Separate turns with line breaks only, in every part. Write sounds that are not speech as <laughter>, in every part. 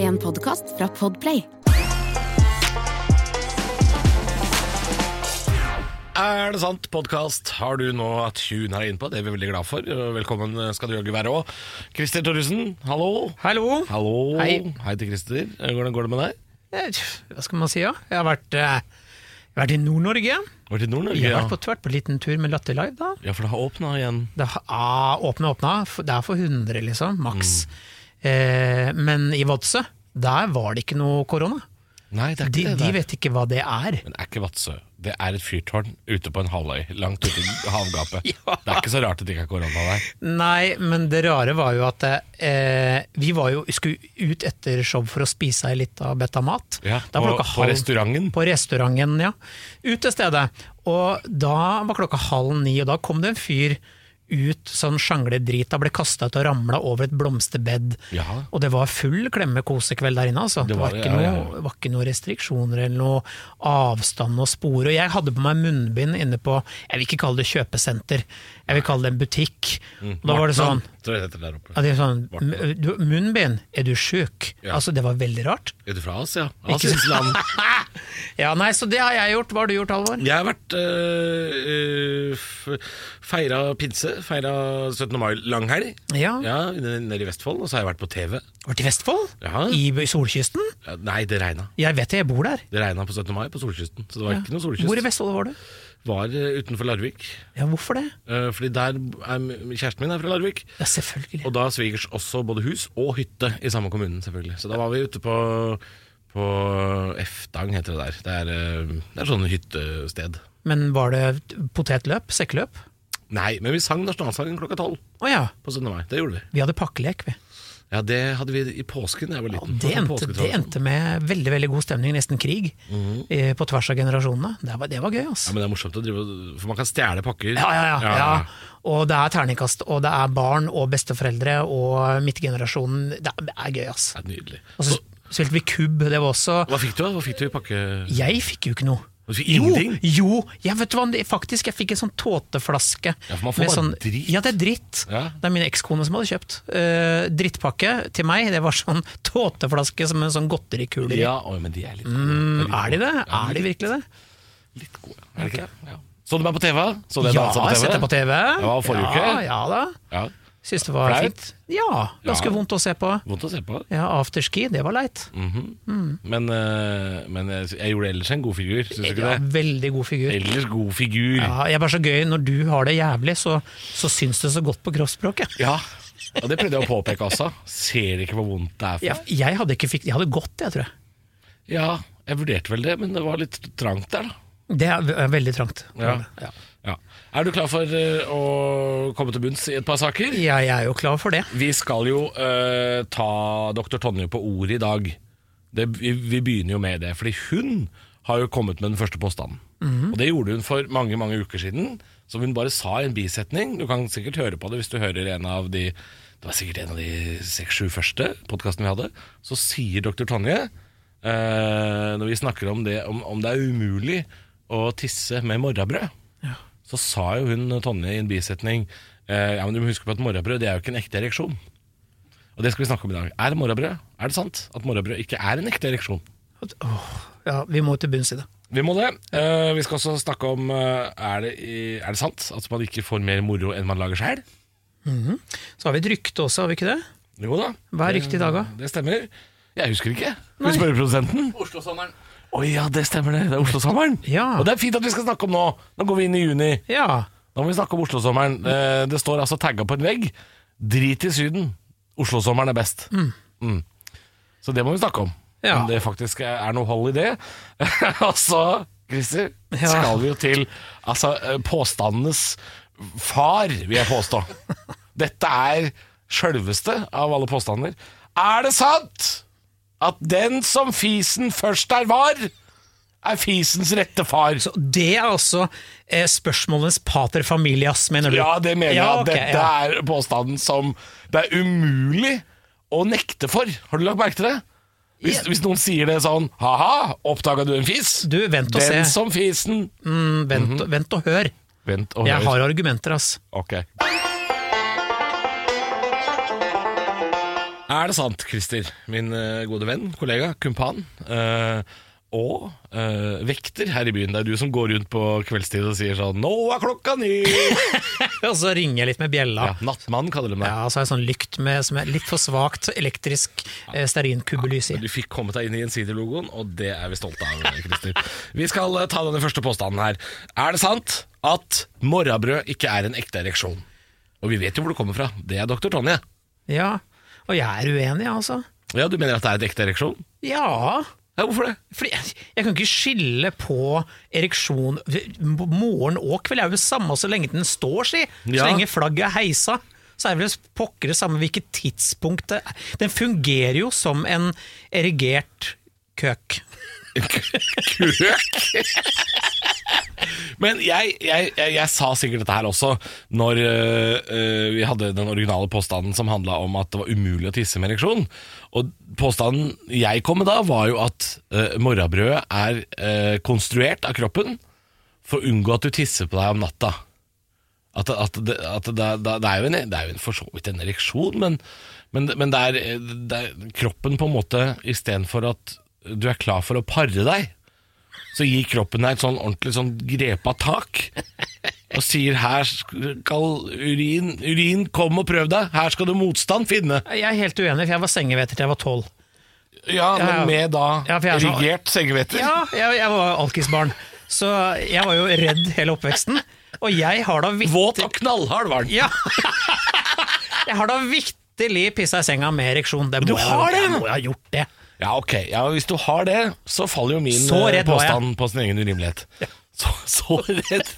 en podkast fra Podplay.
Er det sant? Podkast har du nå tuna deg inn på. Det er vi veldig glad for. Velkommen skal du jaggu være òg. Christer Thoresen, hallo.
Hallo.
Hallo.
Hei.
Hei til Christer. Hvordan går det med deg?
Eh, tf, Hva skal man si, da? Jeg har vært, eh, jeg har vært i Nord-Norge.
Var det til Nord-Norge?
Jeg har vært på, vært på en liten tur med Latter Live, da.
Ja, for det har åpna igjen.
Det har, ah, åpna, åpna. F- Det er for 100, liksom. Maks.
Mm.
Eh, men i Vadsø, der var det ikke noe korona.
Nei, det er ikke
De,
det.
de
der.
vet ikke hva det er.
Men det er ikke Vadsø. Det er et fyrtårn ute på en halvøy, langt ute i
<laughs>
havgapet. Det er ikke så rart at det ikke er korona der.
Nei, men det rare var jo at eh, vi var jo, skulle ut etter show for å spise ei lita bett av mat.
Ja,
Da var
på,
klokka
på
halv-
restauranten.
På restauranten, ja. Utestedet. Og da var klokka halv ni, og da kom det en fyr ut sånn sjangledrita, ble kasta ut og ramla over et blomsterbed.
Ja.
Og det var full klemme kosekveld der inne, altså. Det
var
var,
det,
ikke
ja,
noe,
ja,
var ikke noe restriksjoner eller noe avstand å spore. Og jeg hadde på meg munnbind inne på, jeg vil ikke kalle det kjøpesenter, jeg vil kalle det en butikk.
Mm.
Og da var det sånn,
Så det heter det der oppe.
ja, det er sånn "M- du- Munnbind, er du sjuk?
Ja.
Altså, det var veldig rart.
Er du fra Asia?
Ikke- sånn
Asiens land.
Altså. <laughs> Ja, nei, så det har jeg gjort. Hva har du gjort, Halvor?
Jeg har vært øh, øh, f- feira pinse, feira 17. mai langhelg.
Ja.
Ja, nede i Vestfold. Og så har jeg vært på TV.
Vært i Vestfold?
Ja.
I b- solkysten?
Ja, Nei, det regna.
Jeg vet det, jeg bor der.
Det regna på 17. mai på solkysten. Så det var ikke noe solkyst.
Hvor i Vestfold var du?
Var øh, utenfor Larvik.
Ja, hvorfor det?
Øh, fordi der er m- kjæresten min er fra Larvik.
Ja, selvfølgelig.
Og da svigers også både hus og hytte i samme kommunen, selvfølgelig. Så da var vi ute på, på Eftang, heter det der. Det er, eh, det er sånn hyttested.
Men var det potetløp? Sekkeløp?
Nei, men vi sang nasjonalsangen klokka tolv
Å ja,
på 17. mai. Det gjorde vi.
vi hadde pakkelek, vi.
Ja, det hadde vi i påsken da jeg var liten.
Det endte, det
Påsketradisjon.
endte med veldig veldig god stemning, nesten krig, eh, på tvers av generasjonene. Det var, det var gøy,
Ja,
altså.
men det er morsomt å drive og- For man kan stjele pakker.
Ja, ja, ja, ja. Og det er terningkast, og det er barn og besteforeldre og midtgenerasjonen. Det er, det er gøy, altså.
Det er nydelig.
Og så spilte vi kubb, det var også
Hva fikk du, da? Hva fikk du i pakke?
Jeg fikk jo ikke noe.
Du fikk
Jo,
ingenting?
jo, jeg vet du hva, det- faktisk, jeg fikk en sånn tåteflaske.
Ja, for man får
med sånn-
bare dritt.
Ja, det er dritt.
Ja.
Det er min ekskone som hadde kjøpt. Eh, drittpakke til meg, det var sånn <laughs> tåteflaske som en sånn godterikule. i.
Ja, oi, men de er litt gode.
Mm, er de det?
Ja,
Er de virkelig det?
Litt gode. Er det ikke det? Ja. Så du meg på TV? Så du en
Ja,
danse på
jeg har sett det på TV.
Det var forrige
Ja,
uke.
ja da.
Ja.
Syns det var
Flaut?
fint. Ja, ganske
Ja. Mm.
vondt å se på.
Vondt å se på.
Ja, afterski, det var leit.
Men, eh, men jeg jeg gjorde ellers en god figur, syns du ikke
Ja,
det?
veldig god figur.
Ellers god figur. Ja.
Ja, jeg er bare så gøy, når du har det jævlig, så, så syns det så godt på kroppsspråket.
Og det prøvde jeg å påpeke også. Ser ikke hvor vondt det er for
Ja, jeg hadde ikke fikk Jeg hadde gått, jeg tror jeg.
Ja, jeg vurderte vel det, men det var litt trangt der, da.
Det er ve- er veldig trangt.
Ja. Ja. Er du klar for eh, å komme til bunns i et par saker?
Jeg er jo klar for det.
Vi skal jo eh, ta dr. Tonje på ordet i dag. Det, vi, vi begynner jo med det, fordi hun har jo kommet med den første påstanden. Og Det gjorde hun for mange mange uker siden, som hun bare sa i en bisetning. Du kan sikkert høre på det hvis du hører en av de Det var sikkert en av de seks-sju første podkastene vi hadde. Så sier dr. Tonje, eh, når vi snakker om det, om, om det er umulig å tisse med morrabrød så sa jo hun Tonje i en bisetning eh, Ja, men du må huske på at morrabrød Det er jo ikke en ekte ereksjon Og det skal vi snakke om i dag Er morrabrød, er det sant at morrabrød ikke er en ekte ereksjon?
At- åh, ja, vi må til bunns i det.
Vi må det Eh, Vi skal også snakke om eh, er, det, i- er det sant at man ikke får mer moro enn man lager selv?
Så har vi et rykte også, har vi ikke det?
Jo da
Hva er riktig i dag, da?
Eh, Det stemmer Jeg husker ikke Skal vi spørre produsenten? Oslo-sommeren Åja, det stemmer det Det er Oslo-sommeren
Ja.
Og det er fint at vi skal snakke om nå Nå går vi inn i juni
Ja.
Nå må vi snakke om Oslo-sommeren. Eh, Det står altså tagga på en vegg. Drit i Syden. Oslo-sommeren er best. Mm. Så det må vi snakke om.
Ja.
Om det faktisk er noe hold i det. <laughs> Og så, Christer,
Ja.
skal vi jo til altså, eh, påstandenes far, vil jeg påstå. Dette er sjølveste av alle påstander. Er det sant at den som fisen først er var, er fisens rette far?
Så det er også eh, spørsmålenes pater familias, mener du?
Ja, det mener jeg.
Ja,
at
ok,
Dette
ja.
er påstanden som det er umulig å nekte for. Har du lagt merke til det? Hvis, hvis noen sier det sånn Ha-ha, oppdaga du en fis?
Du, vent og
Den
se.
som Mhm. fisen
Mm, vent, og- vent og hør.
Vent og
Jeg
hør.
har argumenter, ass.
Ok. Er det sant, Christer, min eh, gode venn, kollega, kumpan eh, og eh, vekter her i byen? Det er du som går rundt på kveldstid og sier sånn 'Nå er klokka
<laughs>
ni!'
<laughs> Og så ringer jeg litt med bjella.
Ja, Nattmannen kaller de deg.
Ja, så har jeg sånn lykt med, som er litt for svakt elektrisk eh, stearinkubelys i.
Du fikk kommet deg inn i Gjensidige-logoen, og det er vi stolte av. Christer. Vi skal eh, ta denne første påstanden her. Er det sant at morrabrød ikke er en ekte ereksjon? Og vi vet jo hvor det kommer fra. Det er doktor Tonje.
Ja, og jeg er uenig, altså.
Ja, Du mener at det er en ekte ereksjon?
Ja,
Ja, Hvorfor det?
fordi jeg, jeg kan ikke skille på ereksjon Morgen og kveld er jo det samme så lenge den står, si. Så
Ja.
lenge flagget er heisa. Så er det vel pokker det samme hvilket tidspunkt det er. Den fungerer jo som en erigert køk.
Krøk! Men jeg, jeg, jeg, jeg sa sikkert dette her også når øh, øh, vi hadde den originale påstanden som handla om at det var umulig å tisse med ereksjon. Og påstanden jeg kom med da, var jo at uh, morrabrødet er øh, konstruert av kroppen for å unngå at du tisser på deg om natta. At, at, det, at det, det, det er jo en, det er jo en, for så vidt en ereksjon, men, men, men det, er, det er kroppen på en måte Istedenfor at du er klar for å pare deg, så gir kroppen deg et sånn ordentlig sånn grepa tak. Og sier 'her skal urin, urin kom og prøv deg', 'her skal du motstand finne'.
Jeg er helt uenig, for jeg var sengeveter til jeg var tolv.
Ja,
Ja, ja.
men med da
Ja, for jeg er sånn-
erigert sengeveter.
Ja, jeg, jeg var alkisbarn. Så jeg var jo redd hele oppveksten. Og jeg har da vitterlig
Våt og knallhard var den.
Ja. <laughs> Jeg har da vitterlig pissa i senga med ereksjon. Det
du
må jeg-
har det?
Jeg må jo ha gjort det.
Ja, ok. Ja, hvis du har det, så faller jo min
Så
eh,
redd var jeg.
påstand på sin egen urimelighet. Så,
<laughs>
så redd.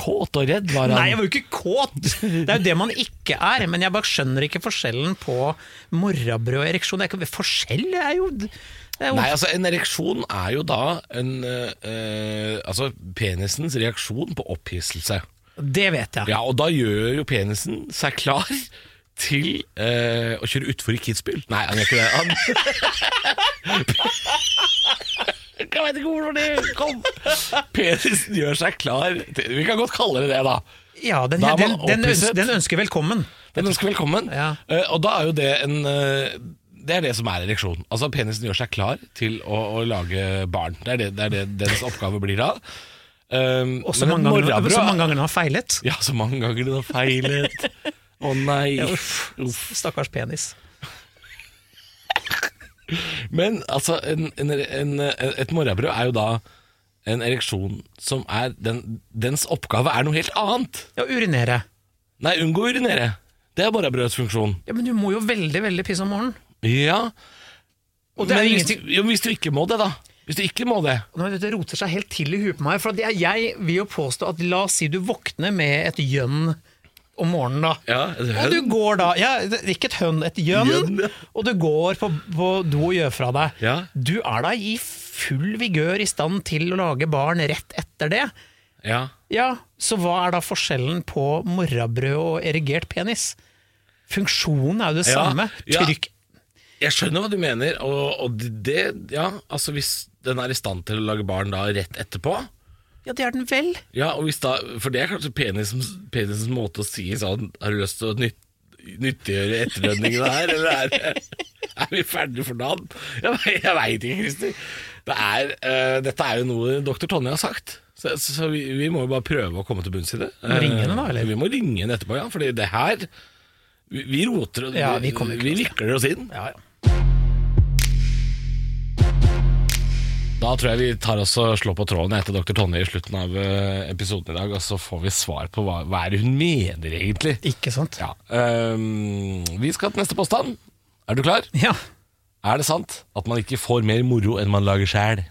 Kåt og redd var han.
Nei, jeg var jo ikke kåt! Det er jo det man ikke er. Men jeg bare skjønner ikke forskjellen på morrabrød og ereksjon. Det er ikke, forskjell er jo, det er jo
Nei, altså En ereksjon er jo da en, eh, eh, altså penisens reaksjon på opphisselse.
Det vet jeg.
Ja, Og da gjør jo penisen seg klar til eh, å kjøre utfor i Kitzbühel. Nei, han gjør ikke det. Han Jeg veit ikke hvorfor det kom. Penisen gjør seg klar til Vi kan godt kalle det det, da.
Ja, den,
Da er
den,
man
den,
opphisset.
ønsker, den ønsker velkommen.
Den ønsker velkommen.
Ja.
Eh, og da er jo det en eh, Det er det som er ereksjon. Altså Penisen gjør seg klar til å, å lage barn. Det er det, det er det dens oppgave blir da. Um,
Og så
men
mange ganger
morrabrød-
så mange ganger den har feilet.
Ja, så mange ganger den har feilet. Å nei.
Ja, uff. Stakkars penis.
Men altså, en, en, en, et morrabrød er jo da en ereksjon som er den, Dens oppgave er noe helt annet.
Ja, urinere.
Nei, unngå å urinere. Det er morrabrødets funksjon.
Ja, Men du må jo veldig, veldig pisse om morgenen.
Ja.
Og det er
Men
jo
hvis,
ingenting
du- jo, hvis du ikke må det, da. Hvis du ikke må det.
Nå vet du, Det roter seg helt til i huet på meg. For at jeg, jeg vil jo påstå at la oss si du våkner med et gjønn om morgenen, da.
Ja, et hønn.
og du går da ja, det er Ikke et hønn, et gjønn.
Gjønn, ja.
Og du går på, på do og gjør fra deg.
Ja.
Du er da i full vigør i stand til å lage barn rett etter det.
Ja.
Ja, Så hva er da forskjellen på morrabrød og erigert penis? Funksjonen er jo det
Ja,
samme.
ja.
Trykk
Jeg skjønner hva du mener, og, og det Ja, altså hvis den er i stand til å lage barn da rett etterpå
Ja, det er den vel.
Ja, og hvis da For det er kanskje penisens, penisens måte å si sånn Har du lyst til å nyt, nyttiggjøre etterlønningene her, eller er, er vi ferdige for dagen? Jeg, ve- jeg veit ikke, Christer. Det er, eh, dette er jo noe dr. Tonje har sagt. Så, så, så vi, vi må jo bare prøve å komme til bunns i det. Eh,
Må ringe henne da, eller?
Vi må ringe henne etterpå, ja. Fordi det her Vi, vi roter og
Ja, vi kommer ikke
vi
til å
vikler oss inn.
Ja, ja.
Da tror jeg vi tar oss og slår på tråden etter dr. Tonje i slutten av eh, episoden i dag, og så får vi svar på hva, hva er det hun mener, egentlig.
Ikke sant?
Ja, øhm, vi skal til neste påstand. Er du klar?
Ja.
Er det sant at man ikke får mer moro enn man lager sjæl?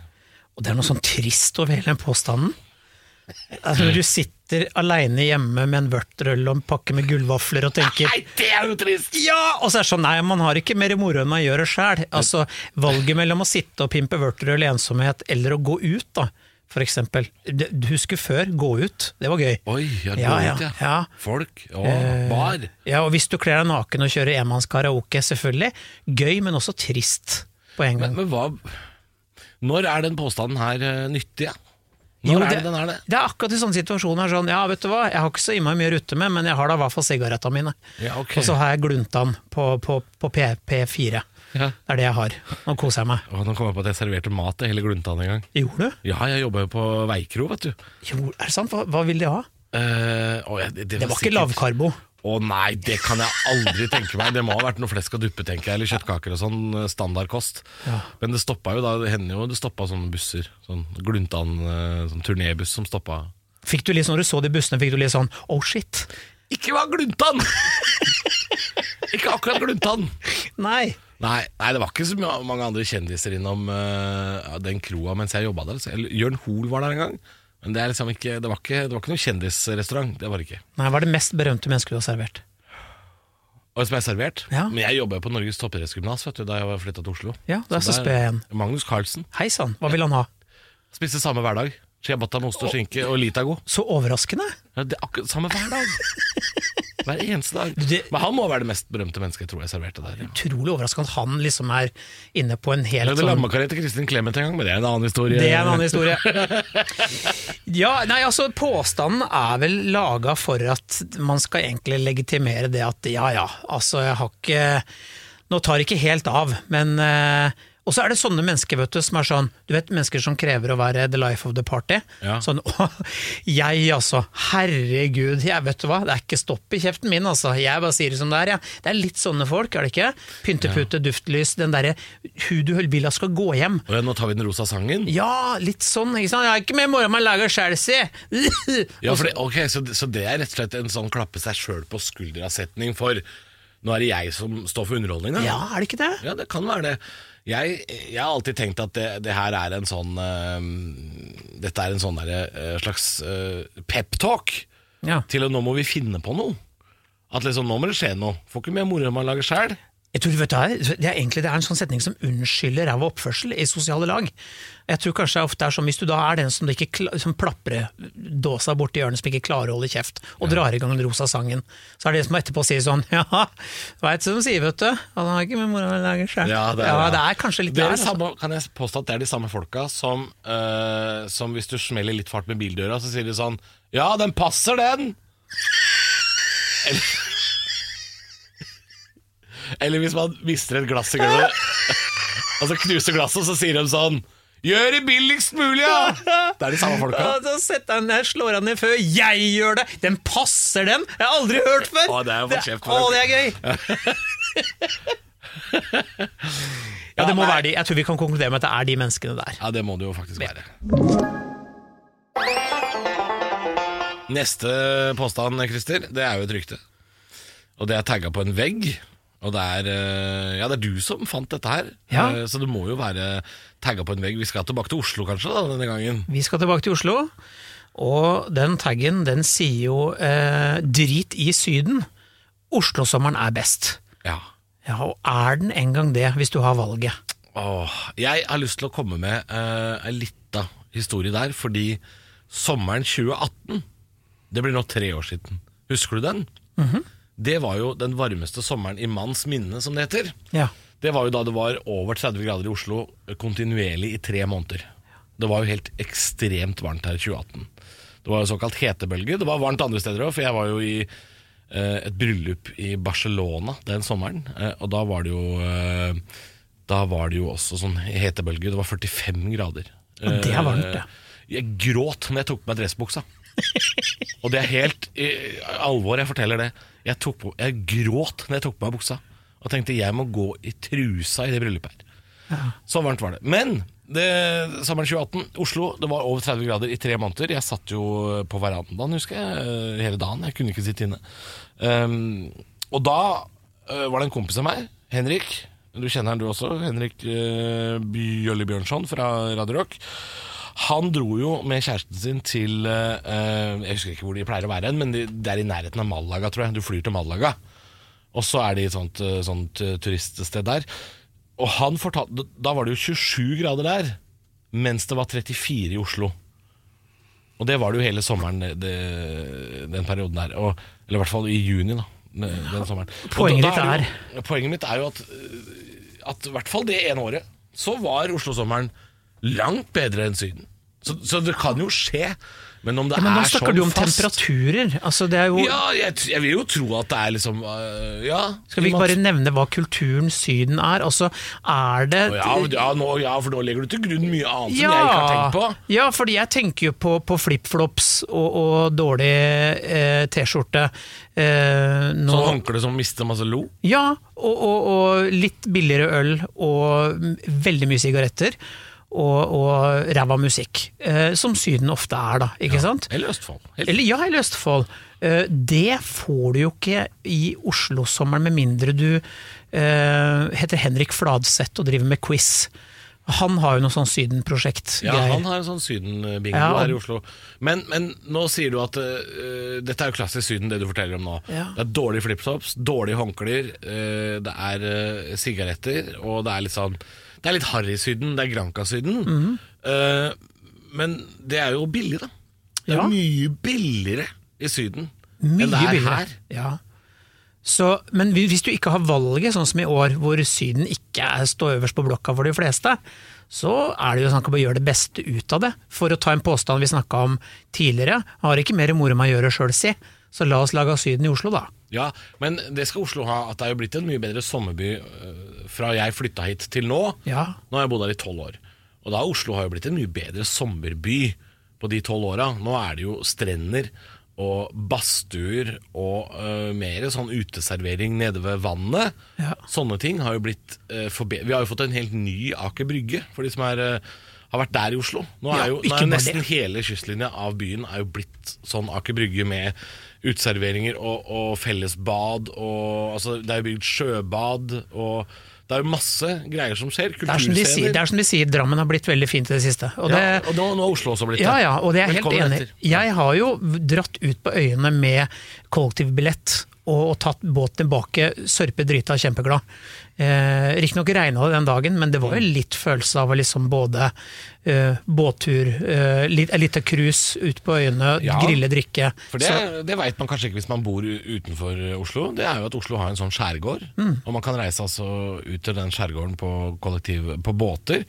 Og det er noe sånn trist over hele den påstanden. Altså, når du sitter aleine hjemme med en vørterøl og en pakke med gullvafler og tenker
det er jo trist!
ja! Og så er det sånn, nei, man har ikke mer moro enn man gjør det sjæl. Altså, valget mellom å sitte og pimpe vørterøl i ensomhet, eller å gå ut, da, for eksempel. Du du husker før, gå ut. Det var gøy.
Oi, jeg går
Ja,
ut,
ja,
ja.
ja.
Folk. Å,
Eh,
bar.
Ja, og hvis du kler deg naken og kjører enmannskaraoke, selvfølgelig. Gøy, men også trist på en gang.
Men, men hva Når er den påstanden her eh, nyttig? ja? Når
Jo,
er det den er det?
Det er akkurat i sånne situasjoner. Sånn, ja, vet du hva, jeg har ikke så innmari mye å rutte med, men jeg har da i hvert fall sigaretta mine.
Ja, ok.
Og så har jeg gluntan på, på, på P, P4.
Ja.
Det er det jeg har. Nå koser jeg meg.
Å, nå kom jeg på at jeg serverte mat til hele Gluntan en gang.
Gjorde du?
Ja, jeg jobba jo på Veikro, vet du.
Jo, er det sant? Hva, hva vil de ha?
Eh, å, jeg- det,
Det var ikke
sikkert-
lavkarbo.
Å nei, det kan jeg aldri tenke meg. Det må ha vært noe flesk og duppe, tenker jeg, eller kjøttkaker og sånn. eh, Standardkost. Men det stoppa jo da, det hender jo det stoppa sånne busser. Sånn Gluntan eh, sånn turnébuss som stoppa.
Fikk du litt, sånn, når du så de bussene, fikk du litt sånn oh shit?
Ikke var Gluntan! <laughs> ikke akkurat Gluntan!
Nei.
Nei, nei, det var ikke så ma- mange andre kjendiser innom eh, ja, den kroa mens jeg jobba der. Så, eller, Jørn Hoel var der en gang. Men det, er liksom ikke, det, var ikke, det var ikke noen kjendisrestaurant. Det var det ikke.
Nei, Hva er det mest berømte mennesket du har servert?
Og som jeg har servert.
Ja.
Men jeg jobba på Norges toppidrettsgymnas vet du, da jeg flytta til Oslo.
Ja, der så
der-
spør jeg igjen.
Magnus Carlsen.
Hei sann, hva vil han ha?
Spiste samme hver dag. Ciabatta med ost og skinke og Litago.
Så overraskende!
Ja, Det er akkurat samme hver
<laughs>
dag. Hver eneste dag.
det-
Men han må være det mest berømte mennesket jeg tror jeg serverte der. Ja.
Utrolig overraskende at han liksom er inne på en
Jeg
helt
lagde
sånn
lammekarri til Kristin Clemet en gang, men det er en annen historie.
Det er en annen historie. <laughs> Ja, nei, altså Påstanden er vel laga for at man skal egentlig legitimere det at ja ja, altså jeg har ikke Nå tar det ikke helt av, men eh, Og så er det sånne mennesker vet du, som er sånn Du vet mennesker som krever å være the life of the party.
Ja.
Sånn <laughs> «Åh, Jeg altså, herregud, jeg vet du hva, det er ikke stopp i kjeften min altså. Jeg bare sier det som det er, jeg. Det er litt sånne folk, er det ikke? Pyntepute, duftlys, den derre Hun du vil at skal gå hjem.
Og ja, nå tar vi den rosa sangen.
Ja, litt sånn. ikke sant? Jeg er ikke med i morgen, man lager sjæl, si!
<laughs> Ja, for det, ok, så, det- så det er rett og slett en sånn klappe seg sjøl på skuldra-setning for nå er det jeg som står for underholdninga.
Ja, er det ikke det?
Ja, det kan være det. Jeg, jeg har alltid tenkt at det, det her er en sånn eh, Dette er en sånn derre, eh, slags uh, pep-talk
Ja.
til at nå må vi finne på noe. At liksom, nå må det skje noe. Får ikke mer moro enn man lager sjæl.
Jeg tror, vet du, hva, det er egentlig det er en sånn setning som unnskylder ræva oppførsel i sosiale lag. Jeg tror kanskje det ofte er sånn, Hvis du da er den som, du ikke, kla- som plaprer dåsa borti hjørnet, som ikke klarer å holde kjeft, og drar i gang den rosa sangen, så er det en som etterpå sier sånn <laughs> Ja, veit du hva de sier, vet du. Han har ikke med mora å lage sjæl. det er kanskje litt
det
der.
er det
altså.
samme, Kan jeg påstå at det er de samme folka som, eh, som hvis du smeller litt fart med bildøra, så sier de sånn Ja, den passer, den! Eller, <laughs> eller hvis man mister et glass i gulvet, <laughs> og så knuser glasset, så sier de sånn Gjør det billigst mulig,
<laughs>
ja! Det er de samme folka.
Ja, da setter han ned, slår han ned før jeg gjør det. Den passer, den! Jeg har aldri hørt før!
Å, det er jo for kjeft,
Å,
men-
det er gøy! <laughs> ja, det må
nei.
være de. Jeg tror vi kan konkludere med at det er de menneskene der.
Ja, det må det jo faktisk være. Neste påstand, Christer, det er jo et rykte. Og det er tagga på en vegg. Og det er, eh, ja, det er du som fant dette her,
Ja.
Eh, så det må jo være tagga på en vegg. Vi skal tilbake til Oslo kanskje da, denne gangen.
Vi skal tilbake til Oslo, og den taggen den sier jo eh, 'drit i Syden'. Oslosommeren er best.
Ja.
Ja, og er den en gang det, hvis du har valget?
Åh, jeg har lyst til å komme med eh, en lita historie der, fordi sommeren 2018, det blir nå tre år siden. Husker du den? Det var jo den varmeste sommeren i manns minne, som det heter.
Ja.
Det var jo da det var over 30 grader i Oslo eh, kontinuerlig i tre måneder. Det var jo helt ekstremt varmt her i 2018. Det var jo såkalt hetebølge. Det var varmt andre steder òg, for jeg var jo i eh, et bryllup i Barcelona den sommeren. eh, og da var det jo eh, Da var det jo også sånn hetebølge. Det var 45 grader.
Og det er varmt, det.
Eh, Jeg gråt når jeg tok på meg dressbuksa. Og det er helt i alvor jeg forteller det. Jeg, tok på, jeg gråt når jeg tok på meg buksa og tenkte jeg må gå i trusa i det bryllupet her. Så varmt var det. Men det, sommeren 2018, Oslo, det var over 30 grader i tre måneder. Jeg satt jo på verandaen, husker jeg, eh, hele dagen. Jeg kunne ikke sitte inne. Um, og da eh, var det en kompis av meg, Henrik. Du kjenner han du også, Henrik uh, Bjølle Bjørnson fra Radio Rock. Han dro jo med kjæresten sin til eh, eh, Jeg husker ikke hvor de pleier å være hen, men de, det er i nærheten av Malaga, tror jeg. Du flyr til Malaga. Og så er det et sånt, eh, sånt eh, turiststed der. Og han fortalte Da var det jo 27 grader der, mens det var 34 i Oslo. Og det var det jo hele sommeren, eh, det, den perioden der. Og, eller i hvert fall i juni, da. Den den sommeren. Og
Poenget
da- da
ditt
det jo- Poenget mitt er jo at eh, at i hvert fall det ene året, så var Oslo-sommeren langt bedre enn Syden. Så, så det kan jo skje. Men om det
Ja, men nå
er
snakker
sånn
du om
fast
temperaturer. Altså, det er jo,
Ja, jeg, t- jeg vil jo tro at det er liksom øh, Ja.
skal
i og
vi ikke
med
bare
at-
nevne hva kulturen Syden er? Altså, er det
ja, men- ja, nå, ja, for nå legger du til grunn mye annet som jeg ikke har tenkt på.
ja, fordi jeg tenker jo på, på flipflops og, og dårlig eh, T-skjorte. Eh, nå-
Sånn håndkle som mister masse lo.
Ja, og, og, og litt billigere øl og m- veldig mye sigaretter. Og, og ræva musikk, eh, som Syden ofte er, da. ikke sant?
Eller Østfold. Helt-
Eller ja, eller Østfold. Eh, Det får du jo ikke i Oslo-sommeren, med mindre du eh, heter Henrik Fladseth og driver med quiz. Han har jo noe sånn Syden-prosjekt.
Ja,
greier.
han har en sånn Syden-bingo
Ja, og-
her i Oslo. Men, men nå sier du at øh, Dette er jo klassisk Syden, det du forteller om nå.
Ja.
Det er dårlige flipflops, dårlige håndklær, øh, det er øh, sigaretter, og det er litt sånn Det er litt harry-Syden, det er Granca-Syden.
Mhm.
Eh, men det er jo billig, da. Det er
Ja.
mye billigere i Syden
Mye
enn det er
billigere.
her.
Ja. Så, men hvi- hvis du ikke har valget, sånn som i år, hvor Syden ikke er- står øverst på blokka for de fleste, så er det jo snakk om å gjøre det beste ut av det. For å ta en påstand vi snakka om tidligere, har ikke mer moro med å gjøre sjøl, si. Så la oss lage Syden i Oslo, da.
Ja, men det skal Oslo ha, at det er jo blitt en mye bedre sommerby øh, fra jeg flytta hit til nå.
Ja.
Nå har jeg bodd her i tolv år. Og da har Oslo har jo blitt en mye bedre sommerby på de tolv åra. Nå er det jo strender og badstuer og øh, mer sånn uteservering nede ved vannet.
Ja.
Sånne ting har jo blitt øh, forbe- Vi har jo fått en helt ny Aker Brygge for de som er, øh, har vært der i Oslo. Nå
Ja,
er jo, nå er
ikke
jo
bare
nesten
det.
hele kystlinja av byen er jo blitt sånn Aker Brygge med uteserveringer og, og fellesbad. Og, altså, det er jo bygd sjøbad, og det er jo masse greier som skjer.
Det er som de
Kulturscener.
sier, det er som de sier Drammen har blitt veldig fint i det siste. Og det,
ja, og nå, nå har Oslo også blitt det.
Ja, ja, og det er jeg helt
Velkommen
enig.
etter.
i. Jeg har jo dratt ut på øyene med kollektivbillett og, og tatt båten tilbake, sørpe drita og kjempeglad. Eh, Riktignok regna det den dagen, men det var jo litt følelse av å liksom både eh, båttur, eh, litt, eh, litt av cruise ut på øyene,
Ja.
grille, drikke.
For det, det veit man kanskje ikke hvis man bor u- utenfor eh, Oslo. Det er jo at Oslo har en sånn skjærgård,
Mm.
og man kan reise altså ut til den skjærgården på, kollektiv, på båter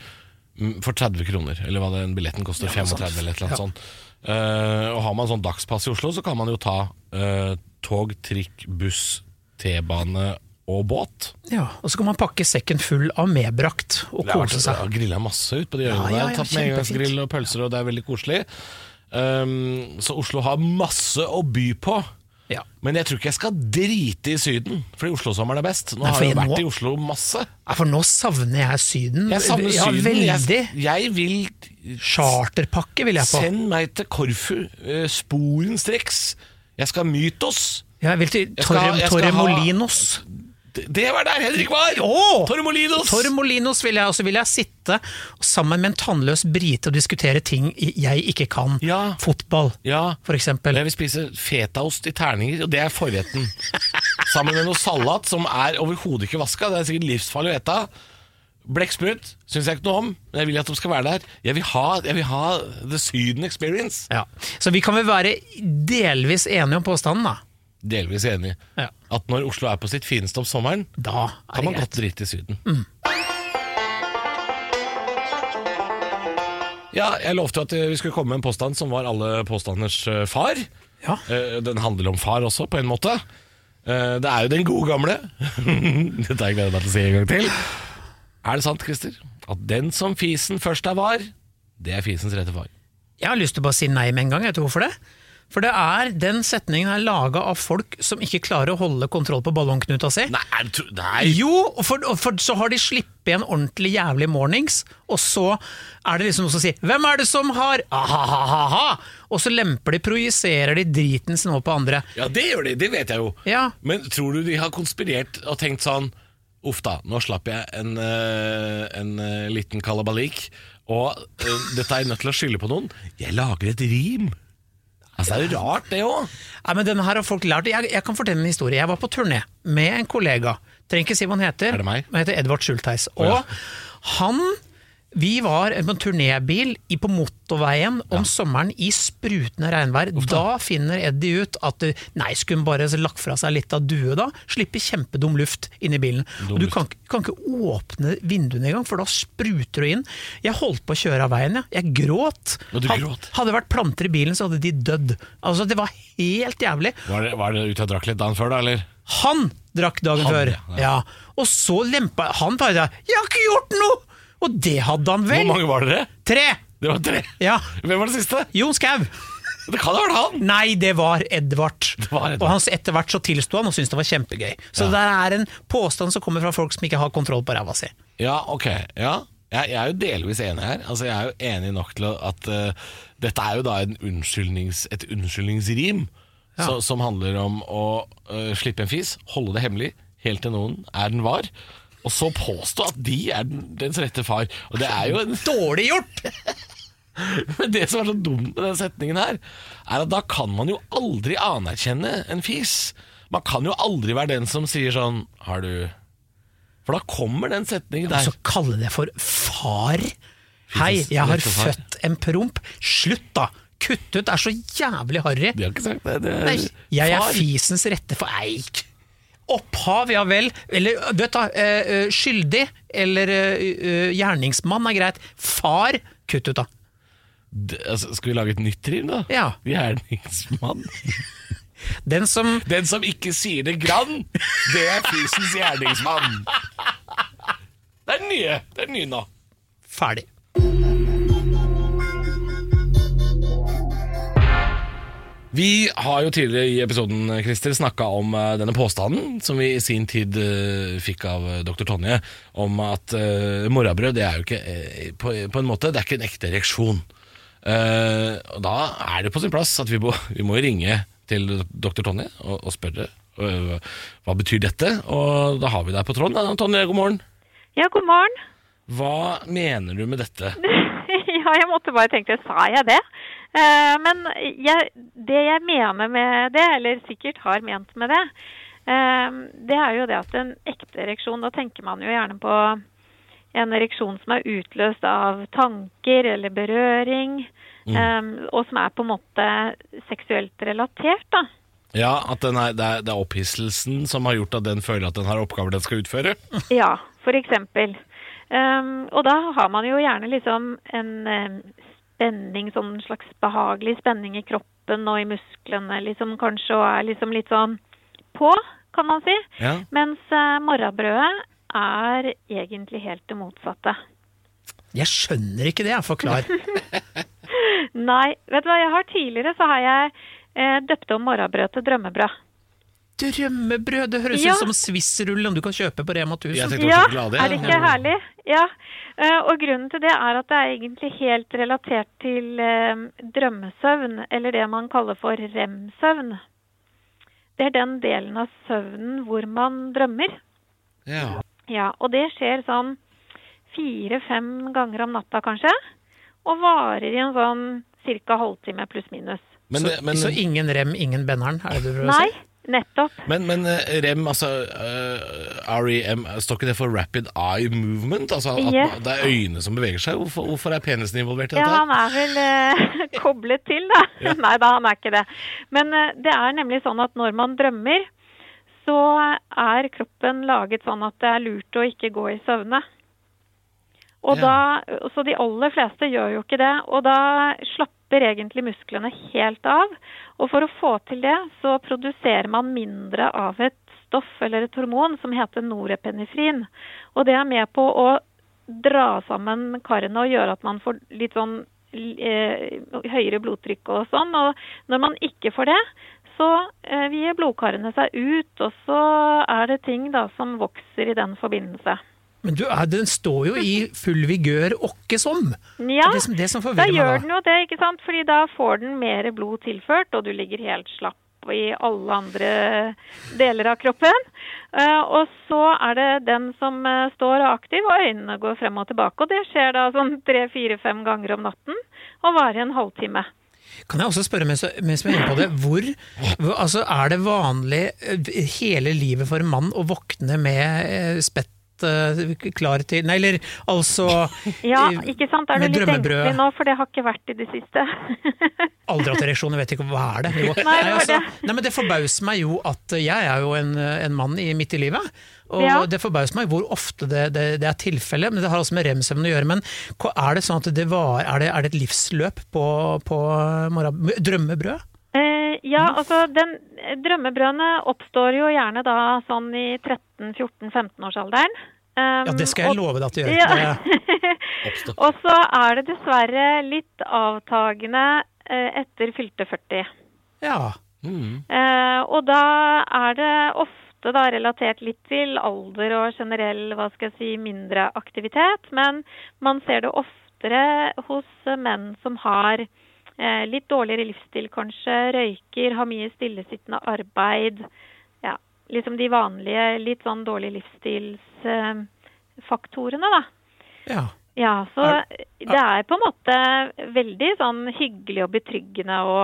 mm, for 30 kroner, eller hva den billetten koster, 35 eller et eller annet sånt. Eh, og har man sånn dagspass i Oslo, så kan man jo ta eh, tog, trikk, buss, T-bane og båt.
ja, og så kan man pakke sekken full av medbrakt og
Det har vært-
kose
Jeg
seg.
har grilla masse ut på de øyene
Ja, ja,
der.
ja,
Tatt med
kjempefint.
engangsgrill og pølser, og det er veldig koselig. Um, så Oslo har masse å by på.
Ja.
Men jeg tror ikke jeg skal drite i Syden, fordi Oslo-sommeren er best. Nå
Nei,
har
for
jeg jo
jeg
vært
må-
i Oslo masse.
Ja, For nå savner jeg Syden.
Jeg savner
ja,
Syden.
Veldig.
Jeg, jeg vil
Charterpakke vil jeg på.
Send meg til Korfu eh, sporenstreks. Jeg skal Mytos.
Jeg vil til
Jeg skal ha-
Torre,
jeg skal
Torre
ha-
Molinos.
Det, det var der Henrik var!
Åh!
Torremolinos!
Torremolinos vil jeg, og så vil jeg sitte sammen med en tannløs brite og diskutere ting jeg ikke kan.
Ja.
Fotball,
Ja.
for eksempel.
Jeg vil spise fetaost i terninger, og det er forretten. Sammen med noe salat som er overhodet ikke vaska. Det er sikkert livsfarlig å ete. Blekksprut syns jeg ikke noe om, men jeg vil at de skal være der. Jeg vil ha, jeg vil ha the Syden experience.
Ja. Så vi kan vel være delvis enige om påstanden, da.
Delvis enig.
Ja.
At når Oslo er på sitt fineste om sommeren,
Da er
kan
det
man
greit.
godt drite i Syden. Ja, jeg lovte jo at eh, vi skulle komme med en påstand som var alle påstanders eh, far.
Ja.
Eh, Den handler om far også, på en måte. Eh, Det er jo den gode gamle. <laughs> Dette har jeg gledet meg til å si en gang til. Er det sant, Christer, at den som fisen først er var, det er fisens rette far?
Jeg har lyst til å bare si nei med en gang, vet du hvorfor det? For det er, den setningen er laga av folk som ikke klarer å holde kontroll på ballongknuta si.
Nei, er det tro- nei.
Jo, og for, og for så har de slippet en ordentlig jævlig mornings, og så er det liksom noen som sier 'Hvem er det som har ha-ha-ha-ha?' Og så lemper de, projiserer de driten sin over på andre.
Ja, det gjør de, det vet jeg jo.
Ja.
Men tror du de har konspirert og tenkt sånn Uff da, nå slapp jeg en, eh, en eh, liten kalabalik, og eh, dette er jeg nødt til å skylde på noen. Jeg lager et rim. Altså, det er jo rart, det òg.
Nei, men denne her har folk lært. Jeg, jeg kan fortelle en historie. Jeg var på turné med en kollega. Trenger ikke si hva han heter.
Er det meg?
Han heter Edvard Schultheis. Og
ja.
han Vi var på en turnébil i- på motorveien om sommeren i sprutende regnvær. Da finner Eddie ut at du, nei, skulle hun bare lagt fra seg litt av due da? Slipper kjempedum luft inn i bilen. og du kan, ikke- kan ikke åpne vinduene engang, for da spruter du inn. Jeg holdt på å kjøre av veien, jeg. Jeg gråt.
Og du
Had-
gråt?
Hadde det vært planter i bilen, så hadde de dødd. Altså, det var helt jævlig.
Var det, var det ute og drakk litt dagen før, da? eller?
Han drakk dagen
Han,
før.
ja.
Ja. Og så lempa han bare seg. 'Jeg har ikke gjort noe!' Og det hadde han
Hvor
vel.
mange var dere?
Tre!
Det var tre.
Ja.
Hvem var det siste?
Jon Skau.
Det kan ha vært han!
Nei, det var Edvard.
var Edvard.
Og hans etter hvert så tilsto han og syntes det var kjempegøy. Så det er en påstand som kommer fra folk som ikke har kontroll på ræva si.
Ja, ok. Ja. Jeg, jeg er jo delvis enig her. Altså, jeg er jo enig nok til å- at eh, dette er jo da en unnskyldnings, et unnskyldningsrim så, som handler om å eh, slippe en fis, holde det hemmelig helt til noen er den var, og så påstå at de er den, dens rette far. Og det er jo en
Dårlig gjort!
Men det som er så dumt med den setningen her, er at da kan man jo aldri anerkjenne en fis. Man kan jo aldri være den som sier sånn Har du For da kommer den setningen
Og
der.
så kalle det for far. Hei, jeg har
rette far.
født en promp. Slutt, da! Kutt ut, det er så jævlig harry.
De har ikke sagt det. det er,
Nei, jeg er
Far.
fisens rette for eik. Opphav, ja vel. Eller du vet da, eh, eh, skyldig eller eh, eh, gjerningsmann er greit. Far, kutt ut, da.
D- altså, Skal vi lage et nytt rim, da?
Ja.
Gjerningsmann.
Den som
Den som ikke sier det grann, det er fisens gjerningsmann. Det er den nye. Det er den nye nå.
Ferdig.
Vi har jo tidligere i episoden Christer, snakka om eh, denne påstanden som vi i sin tid eh, fikk av eh, dr. Tonje, om at uh, morrabrød det er jo ikke eh, på, på en måte, det er ikke en ekte reaksjon. Eh, og da er det på sin plass at vi må, <laughs> vi må jo ringe til dr. Tonje og, og spørre eh, hva betyr dette. Og da har vi deg på tråden. da. Tonje, god morgen.
Ja, god morgen. <laughs>
Hva mener du med dette?
ja, jeg måtte bare tenke, sa jeg det? Eh, men jeg, det jeg mener med det, eller sikkert har ment med det, eh, det er jo det at en ekte ereksjon, da tenker man jo gjerne på en ereksjon som er utløst av tanker eller berøring, eh, og som er på en måte seksuelt relatert, da.
Ja, At den er, det, er, det er opphisselsen som har gjort at den føler at den har oppgaver den skal utføre?
Ja, for eksempel. Ehm, og da har man jo gjerne liksom en em, spenning, sånn slags behagelig spenning i kroppen og i musklene, liksom kanskje, og er liksom litt sånn på, kan man si.
Ja.
Mens uh, morrabrødet er egentlig helt det motsatte.
Jeg skjønner ikke det, jeg.
<laughs>
Forklar.
Nei, vet du hva, jeg har tidligere så har jeg eh, døpt om morrabrød til drømmebrød.
Drømmebrød, det høres
Ja.
ut som swissrullen du kan kjøpe på Rema 1000.
Jeg tenkte-
Ja,
på sjokolade, ja.
er det ikke herlig? Ja. Eh, Og grunnen til det er at det er egentlig helt relatert til eh, drømmesøvn, eller det man kaller for REM-søvn. Det er den delen av søvnen hvor man drømmer.
Ja.
Ja, og det skjer sånn fire-fem ganger om natta, kanskje. Og varer i en sånn ca. halvtime pluss minus.
Men,
så,
det- men,
så ingen rem, ingen benneren, er det det du prøver å
Nei,
si?
nettopp.
men, men eh, REM, altså eh, REM, står ikke det for Rapid Eye Movement? Altså at
Yes.
man- det er øynene som beveger seg? Hvorfor, hvorfor er penisen involvert i
Ja,
dette?
han er vel eh, <laughs> koblet til, da. <laughs> Nei da, han er ikke det. Men eh, det er nemlig sånn at når man drømmer, så er kroppen laget sånn at det er lurt å ikke gå i søvne. Og
Ja.
da, så de aller fleste gjør jo ikke det. Og da slapper egentlig musklene helt av. Og for å få til det, så produserer man mindre av et stoff eller et hormon som heter norepenifrin. Og det er med på å dra sammen karene og gjøre at man får litt sånn eh, høyere blodtrykk og sånn. Og når man ikke får det, så eh, vier blodkarene seg ut, og så er det ting da som vokser i den forbindelse.
Men du, er- den står jo i full vigør åkke som.
Ja,
Det er det som- det som
da
forvirrer meg da.
gjør den jo det, ikke sant? Fordi da får den mer blod tilført, og du ligger helt slapp i alle andre deler av kroppen. Eh, og så er det den som eh, står og er aktiv, og øynene går frem og tilbake. Og det skjer da sånn tre-fire-fem ganger om natten, og varer i en halvtime.
Kan jeg også spørre mens, mens vi er inne på det, hvor, hvor altså, er det vanlig eh, hele livet for en mann å våkne med eh, spett helt eh, klar til Nei, eller altså
<laughs> Ja,
eh,
ikke sant? Er
med
du litt
drømmebrød.
engstelig nå, for det har ikke vært i det siste? <laughs>
Aldri hatt ereksjon, jeg vet ikke hva er det Nei,
Nei, det var
altså,
det.
nei, men det forbauser meg jo at jeg er jo en, en mann i, midt i livet. Og
Ja.
det forbauser meg hvor ofte det, det, det er tilfelle, men det har også med remsevnen å gjøre. Men hva- er det sånn at det var, er det, er det et livsløp på, på morgen, drømmebrød?
Eh, ja, altså den eh, drømmebrødene oppstår jo gjerne da sånn i 13-14-15-årsalderen.
Ja, det skal
Ehm,
jeg love deg at det gjør.
Ja.
Det-
<laughs>
Oppstå.
Og så er det dessverre litt avtagende eh, etter fylte 40.
Ja.
Mm.
Eh, og da er det ofte da relatert litt til alder og generell hva skal jeg si, mindre aktivitet, men man ser det oftere hos eh, menn som har eh, litt dårligere livsstil kanskje, røyker, har mye stillesittende arbeid, ja, liksom de vanlige litt sånn dårlige livsstilsfaktorene da.
ja.
Ja, så
Er-
det er på en måte veldig sånn hyggelig og betryggende å,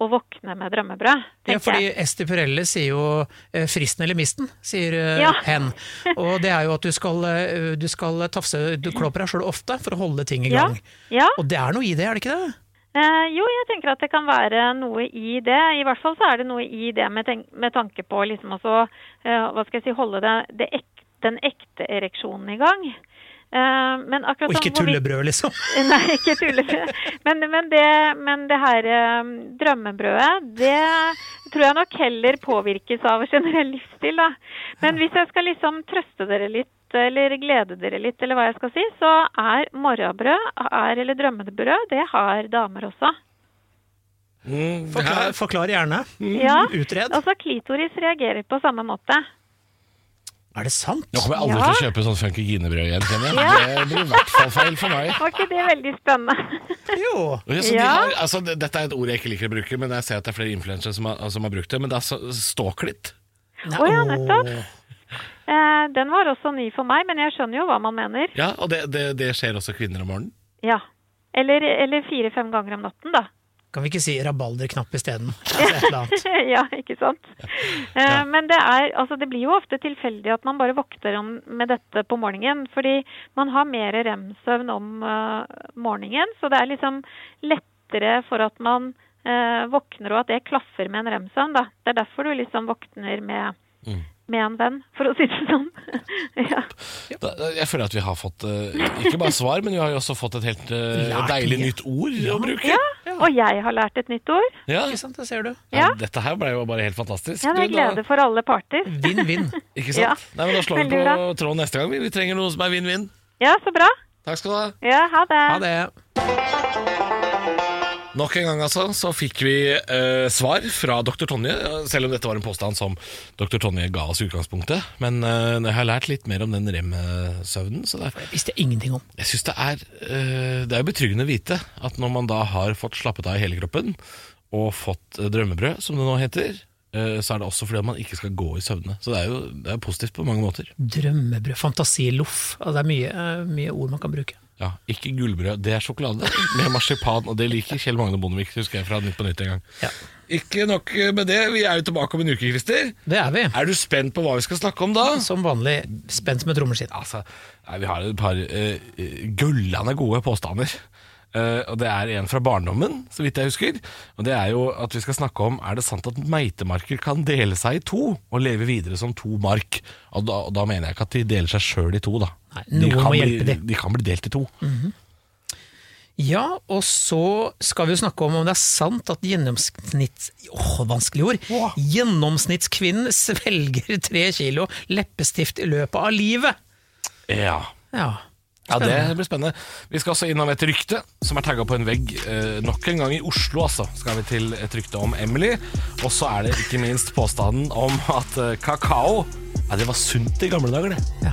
å våkne med drømmebrød,
Ja,
tenker
fordi
jeg.
Esti Pirelle sier jo eh, 'fristen eller misten', sier eh,
Ja.
hen. Og det er jo at du skal, eh, du skal tafse du klå på deg sjøl ofte for å holde ting i
Ja,
gang.
ja.
Og det er noe i det, er det ikke det?
Eh, jo, jeg tenker at det kan være noe i det. I hvert fall så er det noe i det med, tenk med tanke på liksom også, eh, hva skal jeg si, holde det, det ek den ekte ereksjonen i gang. Eh, men akkurat
Og ikke
sånn hvorvidt-
tullebrød, liksom. <laughs>
<laughs> Nei, ikke tullebrød. Men, men, det, men det her eh, drømmebrødet, det tror jeg nok heller påvirkes av generell livsstil, da. Men hvis jeg skal liksom trøste dere litt, eller glede dere litt, eller hva jeg skal si, så er morgenbrød, er, eller drømmebrød, det har damer også.
Mm,
Forklar,
her-
forklar gjerne.
Ja,
Mm, Utred.
altså klitoris reagerer på samme måte.
Er det sant?
Nå kommer jeg aldri
Ja.
til å kjøpe sånn funky ginebrød igjen, kjenner jeg.
Ja.
Det blir i hvert fall feil for meg.
Var ikke det veldig spennende?
Jo.
Ja, så de
Ja.
har, altså, det- dette er et ord jeg ikke liker å bruke, men jeg ser at det er flere influensere som, har- som har brukt det. Men det er så- ståklitt.
Nei,
<laughs> Å ja,
åh.
nettopp. Eh, den var også ny for meg, men jeg skjønner jo hva man mener.
Ja, og det, det, det skjer også kvinner om morgenen.
Ja. Eller, eller fire-fem ganger om natten, da.
Kan vi ikke si rabalderknapp isteden? Altså, et eller annet.
<laughs> ja, ikke sant. Eh,
Ja.
Men det, er, altså, det blir jo ofte tilfeldig at man bare våkner om med dette på morgenen. Fordi man har mer rem-søvn om eh, morgenen, så det er liksom lettere for at man eh, våkner og at det klaffer med en rem-søvn. da. Det er derfor du liksom våkner med,
Mm.
med en venn, for å si det sånn. <laughs> ja.
Da, jeg føler at vi har fått eh, ikke bare svar, men vi har jo også fått et helt eh,
Lært
deilig
mye.
nytt ord å bruke.
ja, og jeg har lært et nytt ord.
Ja.
Ikke sant, det ser du.
Ja.
Nei, Dette her ble jo bare helt fantastisk.
Ja, det
Du,
er
da-
glede for alle parter.
Vinn-vinn.
Ikke sant?
Ja.
Nei, men Da slår vi
Veldig
på tråden neste gang. Vi- Vi trenger noe som er vinn-vinn.
Ja, så bra.
Takk skal du ha.
Ja, ha det.
Ha det.
Nok en gang altså, så fikk vi eh, svar fra dr. Tonje, eh, selv om dette var en påstand som dr. Tonje ga oss i utgangspunktet. Men eh, jeg har lært litt mer om den rem-søvnen. Så det er,
Visste jeg ingenting om.
jeg synes det er eh, Det er jo betryggende å vite at når man da har fått slappet av i hele kroppen, og fått eh, drømmebrød, som det nå heter, eh, så er det også fordi at man ikke skal gå i søvne. Så det er jo det er positivt på mange måter.
Drømmebrød. Fantasiloff. Altså, det er mye, eh, mye ord man kan bruke.
Ja, Ikke gullbrød, det er sjokolade med marsipan, og det liker Kjell Magne Bondevik, husker jeg fra Nytt på Nytt en gang.
Ja.
Ikke nok med det, vi er jo tilbake om en uke, Christer.
Det er vi.
Er du spent på hva vi skal snakke om da?
Som vanlig spent som et trommeskinn.
Altså, nei, vi har et par eh, eh, gullende gode påstander. Eh, og Det er en fra barndommen, så vidt jeg husker. Og Det er jo at vi skal snakke om Er det sant at meitemarker kan dele seg i to og leve videre som to mark. Og Da, og da mener jeg ikke at de deler seg sjøl i to, da.
Nei, noen
kan
må
bli,
hjelpe Mm. de.
kan bli delt i to.
Ja, og så skal vi jo snakke om om det er sant at gjennomsnitts... Åh, vanskelig ord!
Åh.
Gjennomsnittskvinnen <laughs> svelger tre kilo leppestift i løpet av livet.
Ja
Ja.
Ja, det blir spennende. Vi skal også innom et rykte som er tagga på en vegg eh, nok en gang i Oslo, altså. Skal vi til et rykte om Emily. Og så er det ikke minst påstanden om at eh, kakao Ja, det var sunt i gamle dager, det.
Ja.